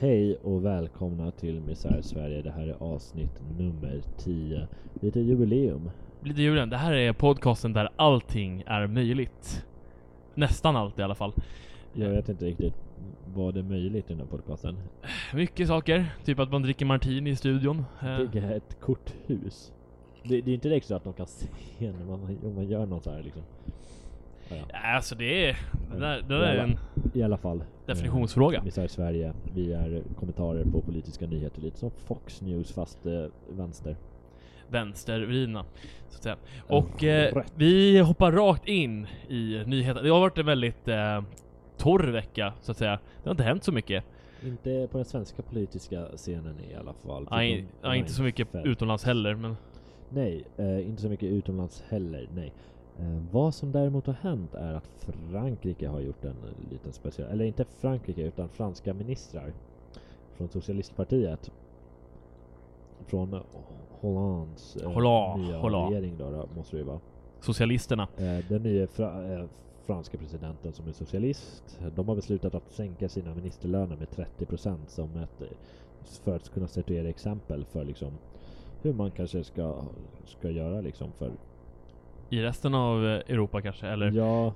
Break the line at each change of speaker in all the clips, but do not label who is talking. Hej och välkomna till Misär Sverige. Det här är avsnitt nummer 10. Lite jubileum.
Lite julen. Det här är podcasten där allting är möjligt. Nästan allt i alla fall.
Jag vet inte riktigt vad det är möjligt i den här podcasten.
Mycket saker. Typ att man dricker martini i studion. Eh,
Bygga ett korthus. Det, det är inte direkt så att de kan se när man, om man gör något så här liksom. Ja, ja.
Alltså det är... Det där, det där är en
I alla fall.
definitionsfråga.
Eh, Misär Sverige. Vi är kommentarer på politiska nyheter. Lite som Fox News fast eh, vänster.
Vänstervridna. Så att säga.
Ja,
Och eh,
rätt.
vi hoppar rakt in i nyheterna. Det har varit en väldigt eh, torr vecka så att säga. Det har inte hänt så mycket.
Inte på den svenska politiska scenen i alla fall.
Nej,
Förutom
nej, inte så mycket
Reinfeldt.
utomlands heller men...
Nej, eh, inte så mycket utomlands heller. Nej. Eh, vad som däremot har hänt är att Frankrike har gjort en eh, liten speciell, eller inte Frankrike utan franska ministrar från socialistpartiet. Från eh, Hollands eh,
Hollande,
nya
Hollande.
regering då, då, måste det ju vara.
Socialisterna.
Eh, Den nya fra- eh, franska presidenten som är socialist, de har beslutat att sänka sina ministerlöner med 30% som ett, eh, för att kunna statuera exempel för liksom hur man kanske ska, ska göra liksom för...
I resten av eh, Europa kanske, eller?
Ja,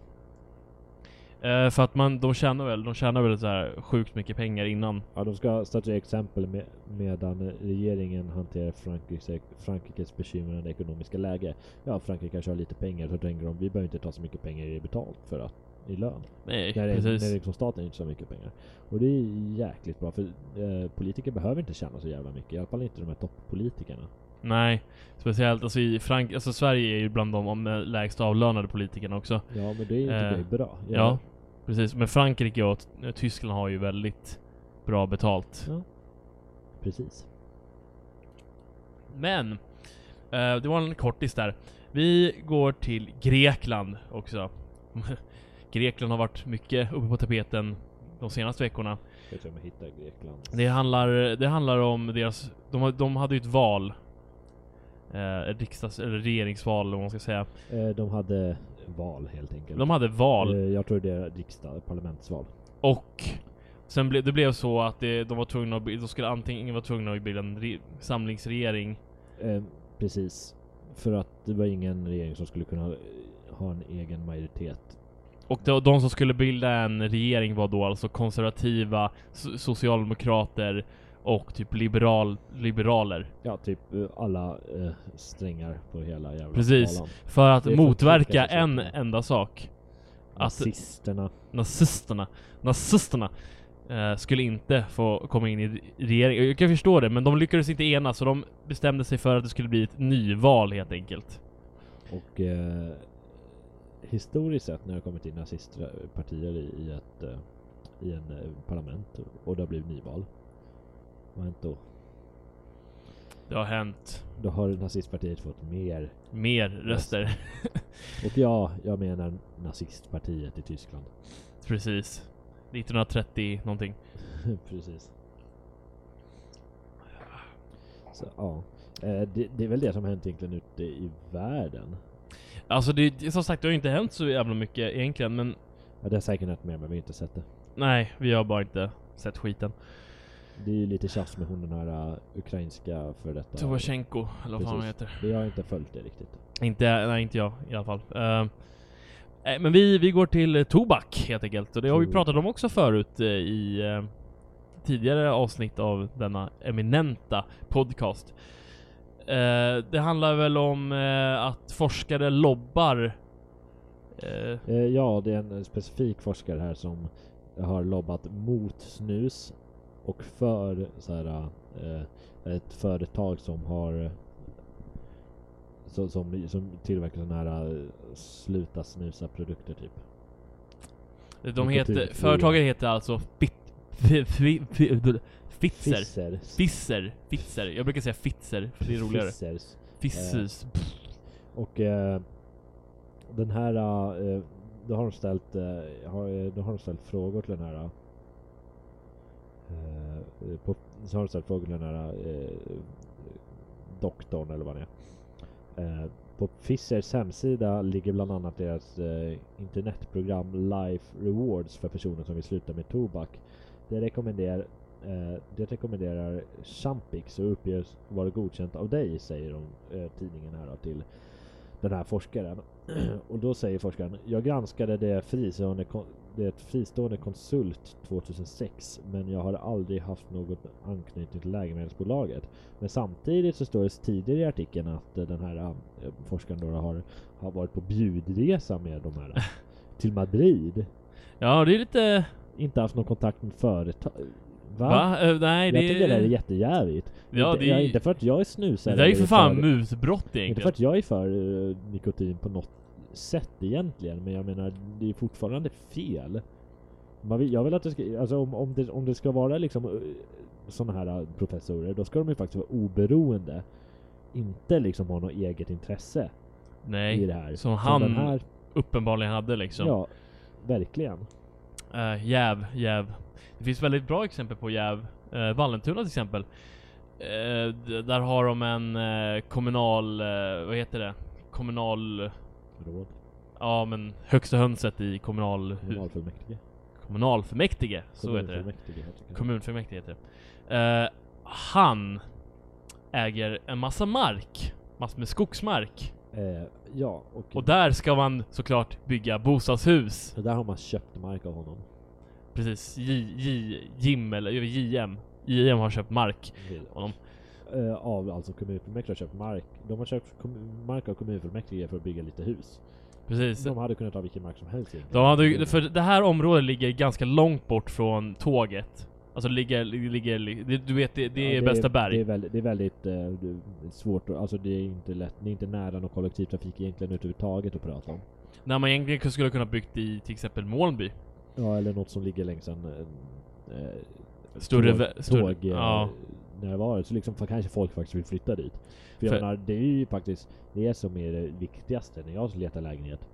Eh, för att man, de tjänar väl, de tjänar väl så här sjukt mycket pengar innan.
ja, de ska statuera exempel med, medan regeringen hanterar Frankrikes, Frankrikes bekymrande ekonomiska läge. Ja, Frankrike kanske har lite pengar så tänker de vi behöver inte ta så mycket pengar i betalt för att i lön.
Nej,
När det, när
precis.
det liksom staten inte så mycket pengar. Och det är jäkligt bra för eh, politiker behöver inte tjäna så jävla mycket. I alla fall inte de här toppolitikerna.
Nej. Speciellt alltså i Frank alltså Sverige är ju bland de om, eh, lägst avlönade politikerna också.
Ja men det är ju inte
Eh,
det bra.
Ja. precis. Men Frankrike och t- Tyskland har ju väldigt bra betalt.
Precis.
Men! Eh, det var en kortis där. Vi går till Grekland också. Grekland har varit mycket uppe på tapeten de senaste veckorna.
Jag tror jag hittar Grekland.
Det handlar, det handlar om deras... De, har- de hade ju ett val. Eh, ett riksdags... Eller regeringsval eller vad man ska säga.
Eh, de hade val helt enkelt.
De hade val.
Eh, jag tror det är riksdag, parlamentsval.
Och... Sen ble, det blev så att det, de var tvungna att... bi- De skulle antingen vara tvungna att bilda en re, samlingsregering.
Eh, precis. För att det var ingen regering som skulle kunna eh, ha en egen majoritet.
Och de, de som skulle bilda en regering var då alltså konservativa, so, socialdemokrater och typ liberal, liberaler.
Ja, typ eh, alla eh, strängar på hela jävla
Precis.
skalan.
För att
Det är
motverka
för
en
tråkiga saker.
enda sak. Att
Nazisterna.
nazisterna, nazisterna eh, skulle inte få komma in i regeringen. Jag kan förstå det, men de lyckades inte enas så de bestämde sig för att det skulle bli ett nyval helt enkelt.
Och eh, historiskt sett när det har kommit in nazistpartier i, i, ett, eh, i en eh, parlament och det har blivit nyval. Vad har hänt då?
Det har hänt
Då har nazistpartiet fått mer.
mer röster.
Och ja, jag menar nazistpartiet i Tyskland.
Precis. 1930 någonting.
Precis. Så ja. Eh, det, det är väl det som har hänt egentligen ute i världen.
Alltså det, det- som sagt, det har ju inte hänt så jävla mycket egentligen, men
Ja, det har säkert hänt mer men vi har inte sett det.
nej, vi har bara inte sett skiten.
Det är ju lite tjafs med hon den här eh, ukrainska för detta.
Tuvosjenko, eller vad fan hon
Precis.
heter.
Jag har inte följt det riktigt.
Inte, nej inte jag i alla fall. Eh, nej, men vi, vi går till eh, tobak helt enkelt. Och det har
Mm.
vi pratat om också förut eh, i eh, tidigare avsnitt av denna eminenta podcast. Eh, det handlar väl om eh, att forskare lobbar... eh,
Eh, Ja, det är en specifik forskare här som har lobbat mot snus och för så här, eh, ett företag som har som, som, som tillverkar sådana här eh, sluta snusa produkter typ.
de
Vilket är
heter,
fel.
företagen heter alltså fit, fi- fi- fi- Fitzer.
Fisser.
Fisser. Fitzer. Jag brukar säga Fitzer, för det är roligare.
Fissers.
Fissers.
Och eh, den här, eh, då har de ställt, eh, har, eh, då har de ställt frågor till den här eh, på, så har de ställt frågor till den här eh, doktorn eller vad det är. Eh, på Fissers hemsida ligger bland annat deras eh, internetprogram Life Rewards för personer som vill sluta med tobak. Det rekommenderar Eh, det rekommenderar Champix och uppges vara godkänt av dig, säger de, eh, tidningen här då, till den här forskaren. och då säger forskaren, jag granskade det fristående, kon- det fristående konsult 2006 men jag har aldrig haft något anknytning till läkemedelsbolaget. Men samtidigt så står det tidigare i artikeln att eh, den här eh, forskaren då har, har varit på bjudresa med de här eh, till Madrid.
Ja, det är lite...
Inte haft någon kontakt med företag. Va?
Va? Eh, nej,
Jag
det...
tycker det är jättejävigt.
Ja,
inte,
det är-
ja, inte för att jag är snusare.
Det där är ju
eller
för fan
för-
mutbrott
Inte för
egentligen.
att jag är för eh, nikotin på något sätt egentligen, men jag menar det är fortfarande fel. Man vill, jag vill att det ska, alltså om, om, det, om det ska vara liksom sådana här eh, professorer, då ska de ju faktiskt vara oberoende. Inte liksom ha något eget intresse i
Nej.
det här.
som han
Alltså, den här,
Uppenbarligen hade liksom.
Ja, verkligen.
Eh, jäv, jäv. Det finns väldigt bra exempel på jäv. Eh, Vallentuna till exempel. Eh, d- där har de en eh, kommunal, eh, vad heter det? Kommunal,
Råd,
ja men högsta hönset i kommunal, hu-
kommunalfullmäktige.
kommunalfullmäktige. Så heter det.
Kommunfullmäktige heter det.
Kommunfullmäktige heter det. Eh, han äger en massa mark. Massor med skogsmark.
Eh, ja, och,
Och där ska man såklart bygga bostadshus.
där har man köpt mark av honom.
Precis, J, J, Jim eller JM. JM har köpt mark. Honom.
eh, av alltså kommunfullmäktige har köpt mark. De har köpt kommu- mark av kommunfullmäktige för att bygga lite hus.
Precis.
De hade kunnat ta vilken mark som helst egentligen.
De hade, ju- för det här området ligger ganska långt bort från tåget. Alltså ligger, ligger, ligger du vet det, det
Ja,
är bästa
Det är
berg.
väldigt, det är väldigt eh, det är svårt att, alltså det är inte lätt, det är inte nära någon kollektivtrafik egentligen överhuvudtaget att prata om.
När man egentligen skulle kunna byggt i till exempel Molnby.
Ja, eller något som ligger längs en eh, eh,
Större,
tåg,
vä- större
tåg eh,
ja.
närvaro. Så liksom för kanske folk faktiskt vill flytta dit. För jag
För-
menar, det är ju faktiskt det som är det viktigaste när jag letar lägenhet.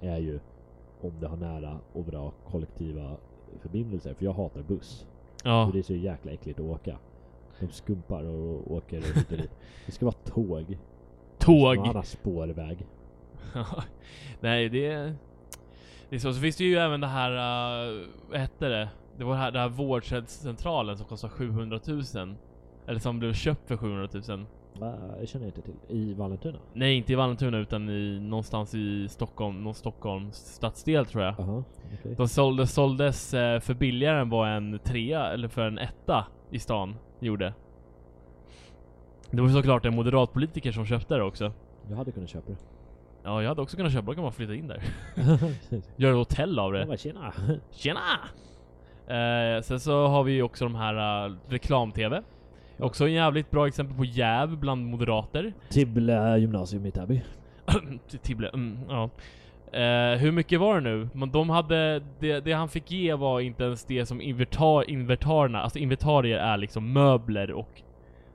Är ju om det har nära och bra kollektiva förbindelser. För jag hatar buss.
ja.
Och det är så jäkla äckligt att åka. De skumpar och åker och hit och dit. Det ska vara tåg.
Tåg.
Och annars spårväg.
Nej det är... Det är så. så finns det ju även det här, eh, vad hette det? Det var det här, det här vårdcentralen som kostar 700 000. Eller som blev köpt för 700 000.
Va? Jag känner inte till. I Vallentuna?
Nej inte i Vallentuna utan i, någonstans i Stockholm, någon Stockholms stadsdel tror jag.
Jaha, okej.
De sålde, såldes eh, för billigare än vad en trea, eller för en etta i stan gjorde. Det var ju såklart en moderatpolitiker som köpte det också.
Jag hade kunnat köpa det.
Ja, jag hade också kunnat köpa, då kan man flytta in där. Göra ett hotell av
Jag
det.
bara, tjena!
Tjena! Eh, sen så har vi ju också de här eh, reklam-tv. Också en jävligt bra exempel på jäv bland moderater.
Tibble Typ, eh, gymnasium i Täby.
Tibble, mm, ja. Eh, hur mycket var det nu? Men de hade, det, det han fick ge var inte ens det som inventar, inventarerna, alltså inventarier är liksom möbler och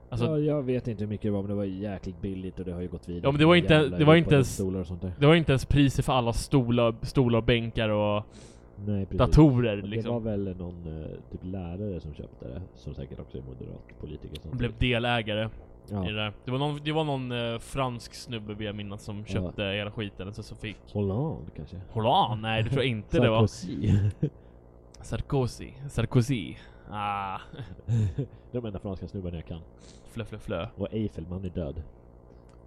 Alltså-
ja, jag vet inte hur mycket det var men det var jäkligt billigt och det har ju gått vidare.
Ja, men det var inte-
Jävla
det var
Europa
inte ens-
Stolar och sånt där.
det var inte ens priser för alla stolar, stolar och bänkar och
Nej precis. Men
datorer
Det var
liksom.
väl någon eh, typ lärare som köpte det. Som säkert också är moderat politiker. Som
De blev delägare i
ja.
det där. Det var någon, det var någon eh, fransk snubbe vill jag minnas som köpte hela skiten och så, så fick
Hollande kanske?
Hollande? Nej det tror jag inte det var.
Sarkozy.
Sarkozy. Sarkozy. Ah,
De enda franska snubbarna jag kan.
flö flö flö.
Och Eiffelman är död.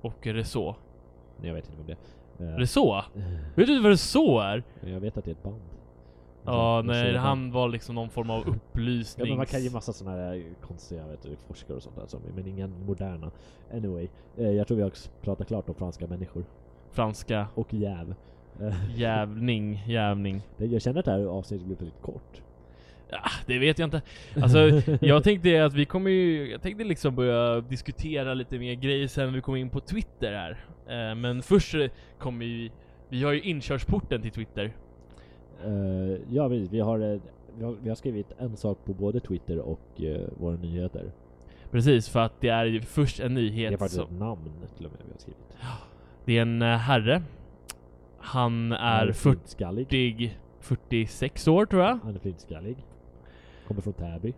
Och Reså.
Nej, jag vet inte vem det är. Eh,
Reså? Vet du vad Reså är?
men jag vet att det är ett band. Alltså,
Ja,
Jag ser
nej
det.
han var liksom någon form av
Ja, men man kan ju
upplysnings...
massa sådana här konstiga vet du, forskare och sånt där, som, men inga moderna. Anyway, eh, jag tror vi har pratat klart om franska människor.
franska
Och jäv. Eh,
jävning, jävning.
det- jag känner att det här avsnittet blir väldigt kort.
Ah, det vet jag inte. Alltså, jag tänkte att vi kommer ju... Jag tänkte liksom börja diskutera lite mer grejer sen när vi kommer in på Twitter här. Eh, men först eh, kommer vi... Vi har ju inkörsporten till Twitter.
Eh, ja, vi, vi, har, eh, vi, har, vi har skrivit en sak på både Twitter och eh, våra nyheter.
Precis, för att det är ju först en
Det är
nyhet.
faktiskt
som-
ett namn till och med vi har skrivit.
det är en eh, herre. Han är
Han
fyrt-
flintskallig.
40... 46 år tror jag.
Han är flintskallig. Kommer från Täby.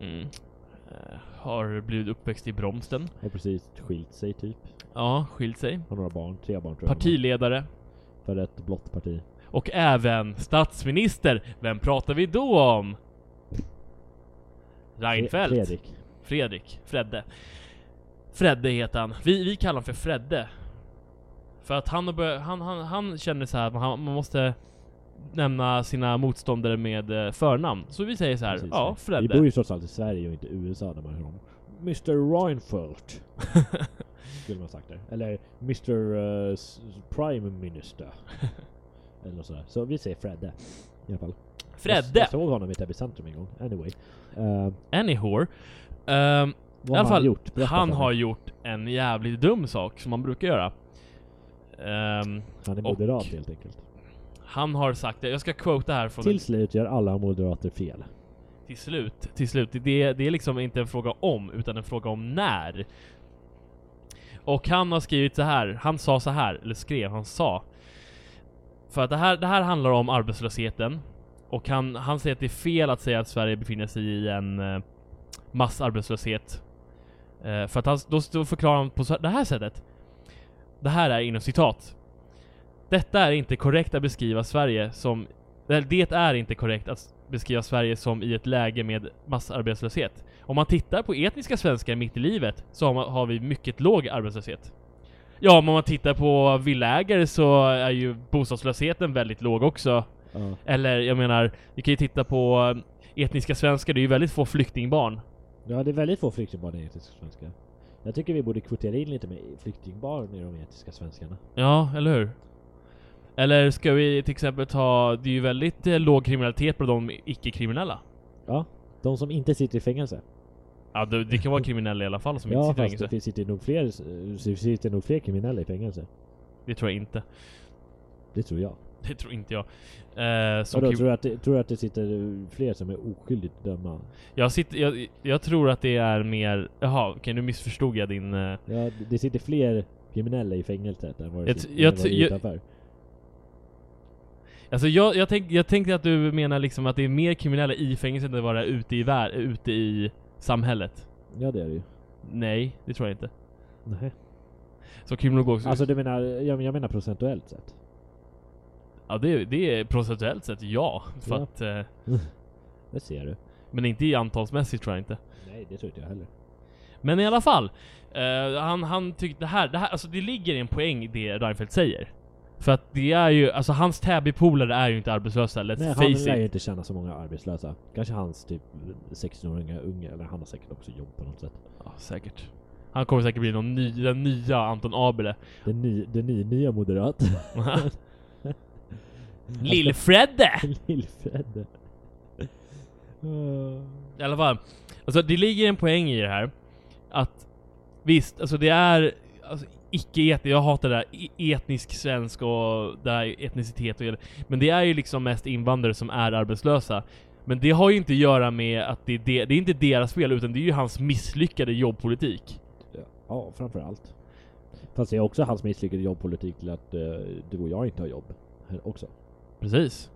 Mm. Eh, Har blivit uppväxt i Bromsten.
Har precis skilt sig typ.
Ja, skilt sig.
Har några barn, tre barn tror jag.
Partiledare.
För ett blått parti.
Och även statsminister. Vem pratar vi då om? Reinfeldt.
Fredrik.
Fredrik. Fredde. Fredde heter han. Vi, vi kallar honom för Fredde. För att han, har börjat- han, han, han känner så här att man, man måste nämna sina motståndare med eh, förnamn. Så vi säger så här.
Precis.
ja,
Vi bor
Fredde.
ju trots allt i Sverige och inte USA där man hör om Mr Reinfeldt. skulle man ha sagt det. Eller Mr eh, s- Prime Minister. Eller något sådär. Så vi säger Fredde. I alla fall. Jag,
Fredde!
jag såg honom i Täby centrum en gång. Anyway. Eh,
Anyhow. Ehm,
vad
I alla
har han
fall,
gjort? Berätta
han
för mig.
har gjort en jävligt dum sak som man brukar göra. Ehm,
Han är
och-
moderat helt enkelt.
han har sagt det, jag ska quote här från
Till slut gör alla moderater fel.
till slut. Till slut. Det, det är liksom inte en fråga om, utan en fråga om när. Och han har skrivit så här. Han sa så här, eller skrev, han sa. För att det här, det här handlar om arbetslösheten. Och han, han säger att det är fel att säga att Sverige befinner sig i en eh, massarbetslöshet. Eh, för att han, då, då förklarar han på så, det här sättet. Det här är inom citat. Detta är inte korrekt att beskriva Sverige som Väl, det är inte korrekt att beskriva Sverige som i ett läge med massarbetslöshet. Om man tittar på etniska svenskar mitt i livet så har, man, har vi mycket låg arbetslöshet. Ja, men om man tittar på villägare så är ju bostadslösheten väldigt låg också.
Ja.
Eller jag menar, vi kan ju titta på eh, etniska svenskar, det är ju väldigt få flyktingbarn.
Ja, det är väldigt få flyktingbarn i etiska svenskar. Jag tycker vi borde kvotera in lite med flyktingbarn i de etiska svenskarna.
Ja, eller hur? Eller ska vi till exempel ta, det är ju väldigt eh, låg kriminalitet på de icke-kriminella.
Ja, de som inte sitter i fängelse.
Ja, det, det kan vara kriminella i alla fall som inte
ja,
sitter i
fast
fängelse.
det finns- sitter nog fler, eh, det sitter nog fler kriminella i fängelse.
Det tror jag inte.
Det tror jag.
Det tror inte jag. Eh, som
Vadå,
krim-
tror, du att det, tror du att det sitter eh, fler som är oskyldigt dömda?
jag, sitter, jag, jag tror att det är mer... Jaha, okej nu missförstod jag din... eh,
Ja, det- det sitter fler kriminella i fängelset än vad det
Jag
sitter
tr- jag
än vad det
tr-
är
jag-
utanför.
Alltså jag, jag, tänk, jag tänkte att du menar liksom att det är mer kriminella i fängelset än vad det är ute i, vär, ute i samhället.
Ja, det är det ju.
Nej, det tror jag inte.
Nej.
Så kriminologiskt...
Alltså du menar, jag, jag menar procentuellt sett.
ja, det, det är procentuellt sett ja. För
Ja.
Att, eh,
Det ser du.
men inte i antalsmässigt tror jag inte.
Nej, det tror inte jag heller.
Men i alla fall. Eh, han, han tyckte det här, det här, alltså det ligger en poäng i det Reinfeldt säger. För att det är ju, alltså hans Täby-polare är ju inte arbetslösa, let's
Nej, han
face
lär
it.
ju inte känna så många arbetslösa. Kanske hans typ 16-åringar unga, eller han har säkert också jobb på något sätt.
Ja, säkert. Han kommer säkert bli någon ny, den nya Anton Abele.
Den, ny, den ny, nya moderat.
Lill-Fredde!
Lill-Fredde. Uh,
I alla fall. Alltså det ligger en poäng i det här. Att visst, alltså det är alltså, icke etniskt, jag hatar det där i- etnisk svensk och det här etnicitet och Men det är ju liksom mest invandrare som är arbetslösa. Men det har ju inte att göra med att det är, de, det är inte deras fel utan det är ju hans misslyckade jobbpolitik.
ja, framför allt. Fast det är också hans misslyckade jobbpolitik till att eh, du och jag inte har jobb. Här också.
Precis.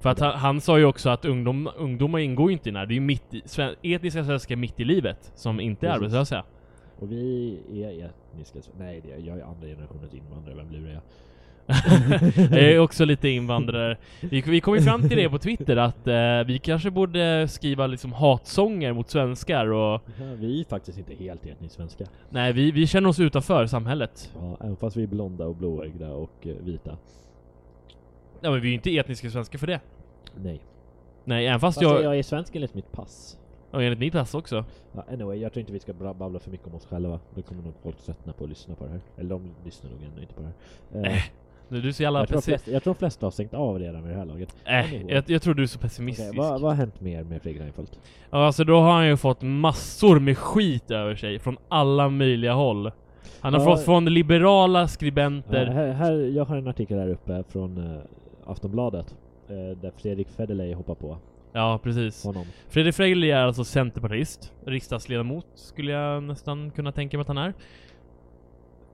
För att han, han sa ju också att ungdom, ungdomar ingår ju inte i den här. Det är ju mitt i, sven, etniska svenskar mitt i livet som inte är
Precis.
arbetslösa.
Och vi är etniska... sv- Nej, det är, jag är andra generationens invandrare. Vem lurar jag?
jag är också lite invandrare. Vi, vi kom ju fram till det på Twitter att eh, vi kanske borde skriva liksom hatsånger mot svenskar och
Ja, Vi är faktiskt inte helt etniskt svenska.
nej, vi, vi känner oss utanför samhället.
Ja, även fast vi är blonda och blåögda och eh, vita.
Ja, men vi är ju inte etniska svenskar för det.
Nej.
Nej, även fast
Fast jag,
jag,
jag är svensk enligt mitt pass.
och enligt mitt pass också.
Ja, anyway, jag tror inte vi ska bra- babbla för mycket om oss själva. Då kommer nog folk tröttna på att lyssna på det här. Eller de lyssnar nog ändå inte på det här. Eh,
Du, du är så jävla
jag, tror de
pessi-
flesta, jag tror de flesta har stängt av redan vid det här laget.
äh, jag, jag tror du är så pessimistisk.
Okej, vad, vad har hänt mer med Fredrik Reinfeldt?
Ja, alltså då har han ju fått massor med skit över sig från alla möjliga håll. Han har
Ja.
fått från liberala
Ja,
skribenter.
här, här, jag har en artikel här uppe från eh, Aftonbladet. eh, där Fredrik Federley hoppar på
Ja, precis.
honom.
Fredrik Frejli är alltså centerpartist. Riksdagsledamot skulle jag nästan kunna tänka mig att han är.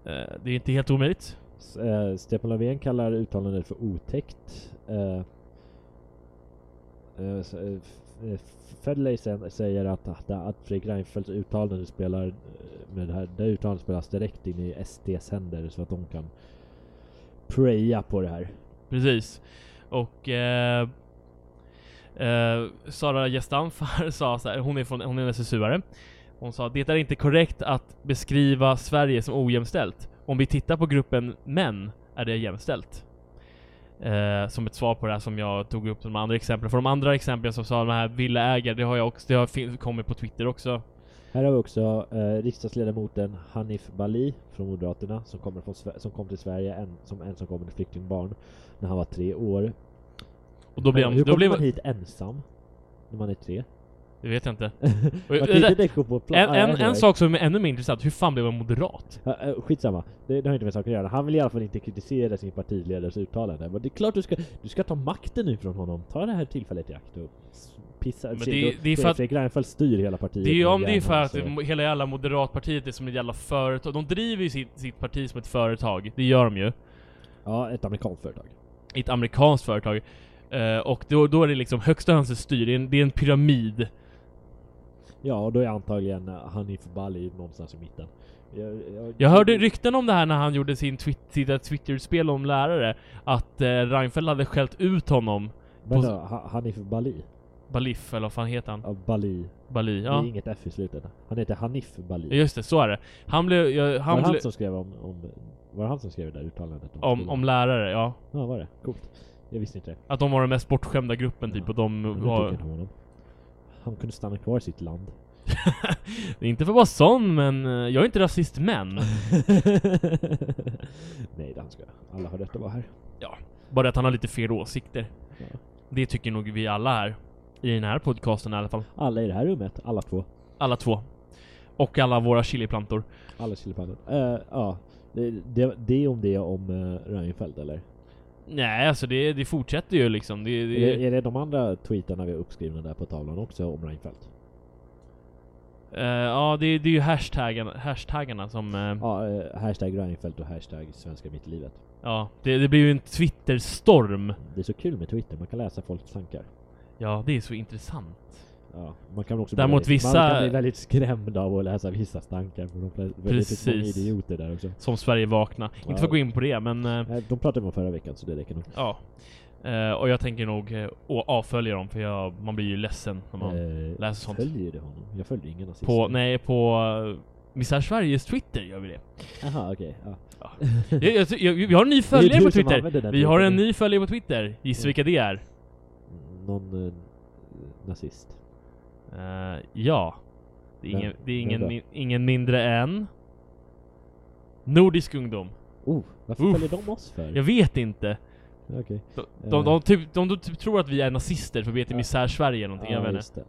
Eh, Det är inte helt omöjligt.
S- eh, Stefan Löfven kallar uttalandet för otäckt. Eh, eh, s- eh, F- eh, Federley sen säger att, att, att Fredrik Reinfeldts uttalande spelar eh, med det här, det här uttalandet spelas direkt in i SDs händer så att de kan preja på det här.
Precis. Och... Eh, Eh, Sara Gestanfar sa så här, hon är, från, hon är en SSU-are. Hon sa det är inte korrekt att beskriva Sverige som ojämställt. Om vi tittar på gruppen män är det jämställt. Eh, som ett svar på det här som jag tog upp de andra exemplen. För de andra exemplen som sa de här villaägare, det har jag också, det har fin- kommit på Twitter också.
Här har vi också eh, riksdagsledamoten Hanif Bali från Moderaterna som, kommer från, Sve- som kom till Sverige en, som ensamkommande flyktingbarn när han var tre år. Eh,
Och då blev
Hur
han, då
kommer
blev,
man hit ensam? När man är tre?
det vet jag inte. Och-
Man kan
eh, det-
inte direkt gå på plan.
En,
Ah,
en,
anyway.
en sak som är ännu mer intressant, hur fan blev han moderat?
Ja, eh, Skitsamma, det, det har inte med saker att göra. Han vill i alla fall inte kritisera sin partiledares uttalande. Men det är klart du ska, du ska ta makten ifrån honom. Ta det här tillfället i akt och s- pissa.
Men
se,
det-
då-
det är för att-
Fredrik Reinfeldt styr hela partiet.
Det är ju
med
om det är för
järnhand,
att
så-
mo- hela jävla moderatpartiet är som ett jävla företag. De driver ju sitt, sitt parti som ett företag. Det gör de ju.
Ja, ett amerikanskt företag.
I ett amerikanskt företag. Eh, och då, då är det liksom högsta hönset styr. Det är en, det är en pyramid.
Ja, och då är antagligen eh, Hanif Bali någonstans i mitten. Jag, jag,
Jag hörde rykten om det här när han gjorde sin twit, sitt där Twitter-spel om lärare. Att eh, Reinfeldt hade skällt ut honom.
Vänta, Ha- Hanif Bali?
Balif, eller vad fan heter han?
Ja, Bali.
Bali,
Det är
ja.
inget F i slutet. Han heter Hanif Bali.
Just det, så är det. Han blev... ja,
var
han
det han
blev
som skrev om, om... Var det han som skrev det där uttalandet?
om,
skolan?
om lärare, ja.
Ja, var det? Coolt. Jag visste inte det.
Att de var den mest bortskämda gruppen typ
Ja,
och de
Men det
var...
tycker jag om honom. Han kunde stanna kvar i sitt land.
Inte för att vara sån men eh, jag är inte rasist men.
Nej, det han ska. Alla har rätt att vara här.
Bara att han har lite fel åsikter.
Ja.
Det tycker nog vi alla här. I den här podcasten i alla fall.
Alla i det här rummet, alla två.
Alla två. Och alla våra chiliplantor.
Alla chilipannor. Eh, ja. Det, det, det är om det om uh, Reinfeldt eller?
Nej alltså det, det fortsätter ju liksom. Det, det,
Är, är det de andra tweetarna vi har uppskrivna där på tavlan också om Reinfeldt?
eh, ja det, det är ju hashtaggarna, hashtaggarna som... eh, ja,
Ja, eh, hashtag Reinfeldt och hashtag svenska mittlivet.
det, det blir ju en twitterstorm.
Det är så kul med Twitter, man kan läsa folks tankar.
Ja det är så intressant.
Ja, man kan också
Däremot
bli väldigt,
vissa-
man kan bli väldigt skrämd av att läsa vissa tankar. För de flesta, Precis. Det är
Precis.
många idioter där också.
Som Sverige vakna. Inte för att gå in på det men... eh,
Nej, De pratade om förra veckan så det räcker nog.
Ja. Eh, och jag tänker nog eh, å- avfölja dem för jag, man blir ju ledsen när man
Eh,
läser sånt.
Följer du honom? Jag följer ingen nazist.
På, nej, på eh, Misär Sveriges Twitter gör vi det.
Aha, okej. ja.
Jag, jag, jag, vi har en ny
Det är
följare
du
på
som
Twitter.
använder den
Vi har en
tweeten.
ny följare på Twitter. Gissa
Mm.
vilka det är?
Någon eh, nazist.
Eh, ja. Det är
Vem?
ingen, det är
Vem
ingen,
då?
min- ingen mindre än... Nordisk ungdom.
Oh, varför
Uff.
följer de oss för?
Jag vet inte.
Okej.
De, de, de, typ, de, de typ tror att vi är nazister för vi heter
Eh. Ja.
Misär Sverige eller någonting. jag vet inte.
just det.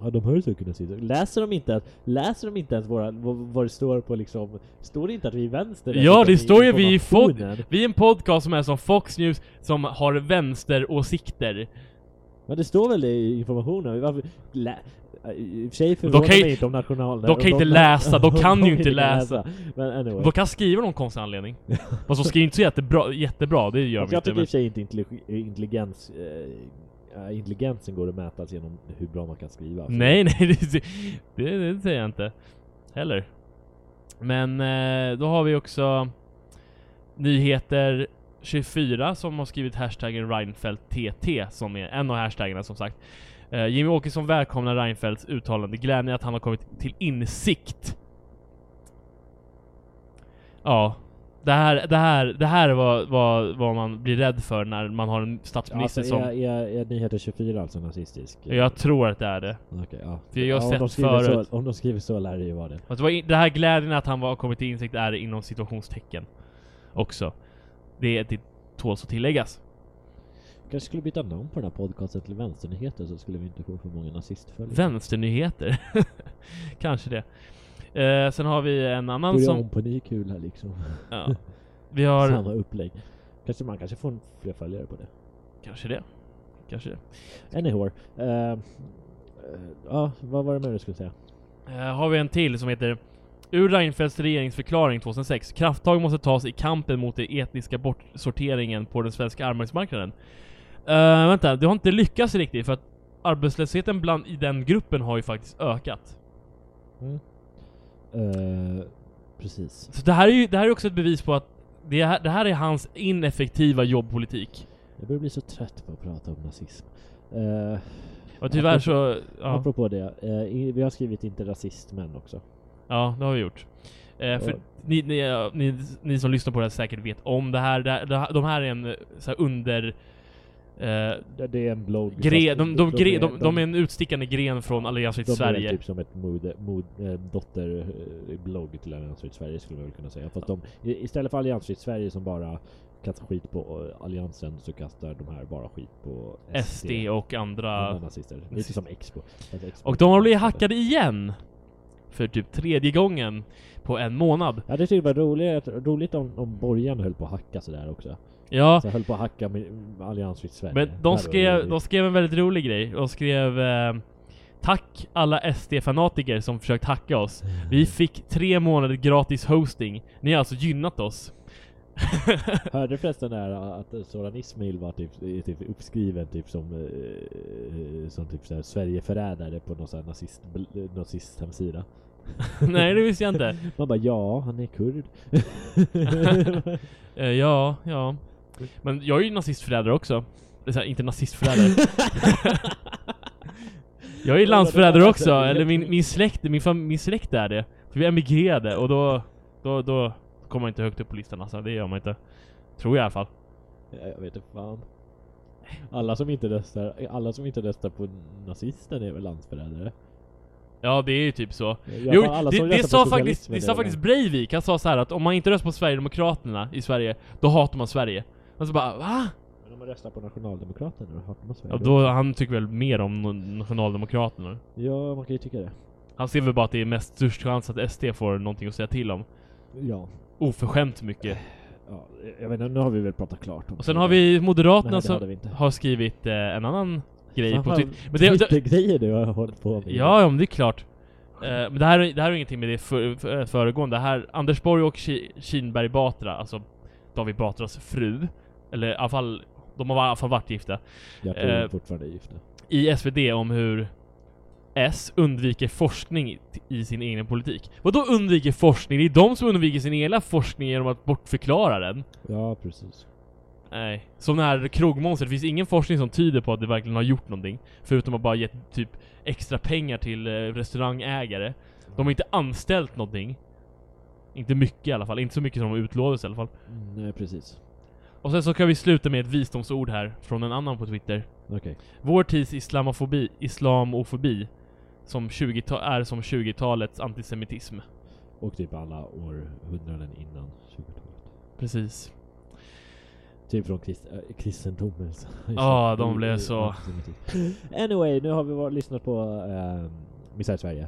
Ja, de har ju säkert nazister. Läser de inte, att- läser de inte ens våra, vad, vad det står på liksom... Står det inte att vi är vänster?
Ja, det
Utan
står ju vi i Fox...
informationen.
Vi är en podcast som är som Fox News, som har vänsteråsikter.
Ja, det står väl det i informationen. Varför, lä, I och för sig
De
förvånar
kan ju-
mig inte om national...
de kan ju
om
inte läsa, de kan ju inte
Men anyway.
De kan skriva någon konstig anledning. Fast de skriver inte så jättebra, jättebra det gör
Och
de
jag tycker
inte.
i
Men,
och för sig inte intellig- intelligens, eh, ja, intelligensen går att mätas genom hur bra man kan skriva. Alltså,
nej, nej, det, det, det säger jag inte. Heller. Men eh, då har vi också nyheter 24 som har skrivit hashtaggen Reinfeldt TT som är en av hashtaggarna som sagt. Eh, Jimmy Åkesson välkomnar Reinfeldts uttalande. Glädjen är att han har kommit till insikt. Ja. Det här, det här, det här var vad, vad man blir rädd för när man har en
Ja, Alltså,
statsminister som...
är, är, är Nyheter 24 alltså nazistisk?
Jag tror att det är det.
Okej, ja.
För jag
ja,
har
om
sett
de skriver
förut.
Så, om de skriver så lär det ju vara det.
Att Alltså, det, var in, det här glädjen att han var kommit till insikt är inom situationstecken också. Det, det tåls att tilläggas.
kanske skulle byta namn på den här podcasten till Vänsternyheter så skulle vi inte få för många nazistföljare.
Vänsternyheter. Kanske det. Eh, sen har vi en annan
Börja
som...
om på ny kula liksom.
Ja, vi har...
Samma upplägg. Kanske man kanske får en- fler följare på det.
Kanske det. Kanske det.
Anyhow. eh, eh, Ja, vad var det mer du skulle säga?
Eh, har vi en till som heter Ur Reinfeldts regeringsförklaring 2006. Krafttag måste tas i kampen mot den etniska bortsorteringen på den svenska arbetsmarknaden. Eh, vänta, det har inte lyckats riktigt för att arbetslösheten bland, i den gruppen har ju faktiskt ökat.
Eh, precis.
Så det här är ju det här är också ett bevis på att det här, det här är hans ineffektiva jobbpolitik.
Jag börjar bli så trött på att prata om nazism. Eh, Eh,
Och tyvärr så... Ja,
Apropå det, eh, i- vi har skrivit inte rasistmän också.
ja det har vi gjort. Eh, för
Ja.
ni, ni, eh, ni, ni som lyssnar på det här säkert vet om det här. Det, här- det, här- de här är en eh, så här under... Eh,
Det, det är en blogg.
gre,
fast
de, de, gre, de, de är
de-
en utstickande gren från Allians
de
för
är
Sverige.
typ som ett mode, mod, eh, dotterblogg till Alliansfritt Sverige skulle man väl kunna säga. Fast de, i- istället för Alliansfritt Sverige som bara kastar skit på eh, Alliansen så kastar de här bara skit på
SD och andra.
Andra nazister. Lite som Expo. Fast Expo-
Och de har blivit hackade igen! För typ tredje gången på en månad.
Ja det tyckte jag var roligt, roligt om, om borgarna höll på att hacka sådär också.
Ja,
Så höll på att hacka med med Alliansfritt Sverige.
men
Där var
de
det
skrev,
roligt.
de skrev en väldigt rolig grej. De skrev eh, Tack alla SD-fanatiker som försökt hacka oss.
Mm.
Vi fick tre månader gratis hosting. Ni har alltså gynnat oss.
Hörde du förresten där att Soran Ismail var typ, är typ uppskriven typ som, eh, som typ såhär Sverigeförrädare på någon sån här nazist, eh, nazist hemsida?
Nej, det visste jag inte.
Man bara ja, han är kurd.
Eh, ja, ja. Men jag är ju nazistförrädare också. Det är så här, inte nazistförrädare. jag är ju landsförrädare också. Eller min, min släkt, min, fam, min släkt är det. För vi emigrerade och då, då, då kommer man inte högt upp på listan alltså. Det gör man inte. Tror jag i alla fall.
Jag vet inte fan. Alla som inte röstar, alla som inte röstar på nazisten är väl landsförrädare?
Ja, det är ju typ så.
I alla
Jo,
fall alla
det,
som
det,
röstar på
sa
socialismen
faktiskt,
är
det sa
väl
faktiskt Breivik. Han sa så här att om man inte röstar på Sverigedemokraterna i Sverige, då hatar man Sverige. Och så bara va?
Men om man röstar på Nationaldemokraterna då hatar man Sverige.
Ja, då, han tycker väl mer om Nationaldemokraterna.
ja, man kan ju tycka det.
Han ser väl bara att det är mest störst chans att SD får någonting att säga till om.
Ja.
Oförskämt mycket.
ja. Jag vet inte, nu har vi väl pratat klart om
Och sen har vi
Nej,
Moderaterna
det hade
som
vi inte.
har skrivit eh, en annan grej
Fan,
på
vad
Twitter. Men det, det,
Twittergrejer du har hållit på med.
ja, ja, men det är klart. Eh, men det här, det här är ingenting med det för, för, eh, föregående. Det här, Anders Borg och Ki, Kinberg Batra, alltså David Batras fru, eller i alla fall, de har i alla fall varit gifta,
Jag tror
eh,
fortfarande är gifta.
i SvD om hur S undviker forskning i- i sin egen politik. Vadå undviker forskning? Det är de som undviker sin egen forskning genom att bortförklara den.
Ja, precis.
Nej. Som den här krogmonstret, det finns ingen forskning som tyder på att det verkligen har gjort någonting. Förutom att bara gett typ extra pengar till eh, restaurangägare. De har inte anställt någonting. Inte mycket i alla fall, inte så mycket som de utlovades i alla fall.
Mm, Nej, precis.
Och sen så kan vi sluta med ett visdomsord här, från en annan på Twitter.
Okej.
Vår tids islamofobi, islamofobi som 20 är som 20-talets antisemitism.
Och typ alla århundraden innan 20-talet.
Precis.
Typ från krist äh, kristendomen. så-
Ja, de blev så-
antisemitiskt. Anyway, nu har vi var, lyssnat på äh, Misär Sverige.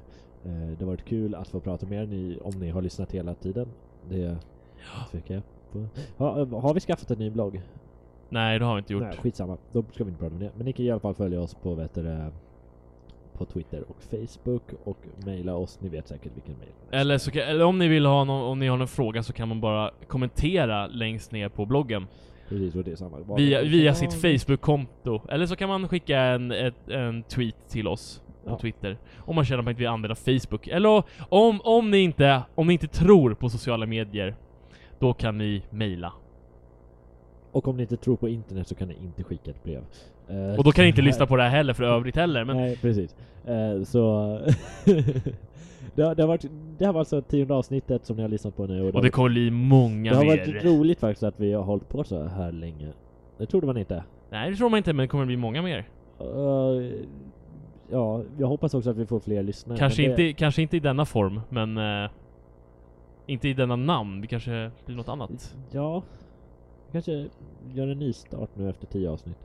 Eh, det har varit kul att få prata med er ni, om ni har lyssnat hela tiden. Det tycker jag. På. Ha, eh, har vi skaffat en ny blogg?
Nej, det har vi inte gjort.
Nej, skitsamma. Då ska vi inte prata om det. Men ni kan i alla fall följa oss på, vet du, det, på Twitter och Facebook och mejla oss. Ni vet säkert vilken mejl.
Eller, så kan, eller om ni vill ha någon, om ni har någon fråga så kan man bara kommentera längst ner på bloggen.
Precis, och det är samma.
Via, via sitt Facebook-konto. Eller så kan man skicka en, ett, en tweet till oss på
Ja.
Twitter. Om man känner att man inte vill använda Facebook. Eller om, om, ni inte, om ni inte tror på sociala medier, då kan ni mejla.
Och om ni inte tror på internet så kan ni inte skicka ett brev. Eh,
Och då kan ni inte lyssna på det här heller för övrigt heller. Men
Nej, precis. Eh, så... det, har, det, har varit, det här var alltså tionde avsnittet som ni har lyssnat på nu.
Och det kommer bli många
det har
mer.
varit roligt faktiskt att vi har hållit på så här länge. Det trodde man inte.
Nej, det tror man inte, men det kommer bli många mer.
Eh, ja, jag hoppas också att vi får fler lyssnare.
kanske,
men det-
inte, kanske inte i denna form, men... eh, inte i denna namn. Det kanske blir något
Mm.
annat.
Ja. Vi kanske gör en ny start nu efter tio avsnitt.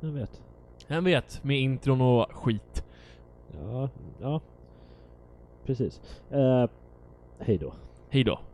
Vem vet?
Vem vet? Med intron och skit.
Ja, ja. Precis. Eh, hej då.
Hej då.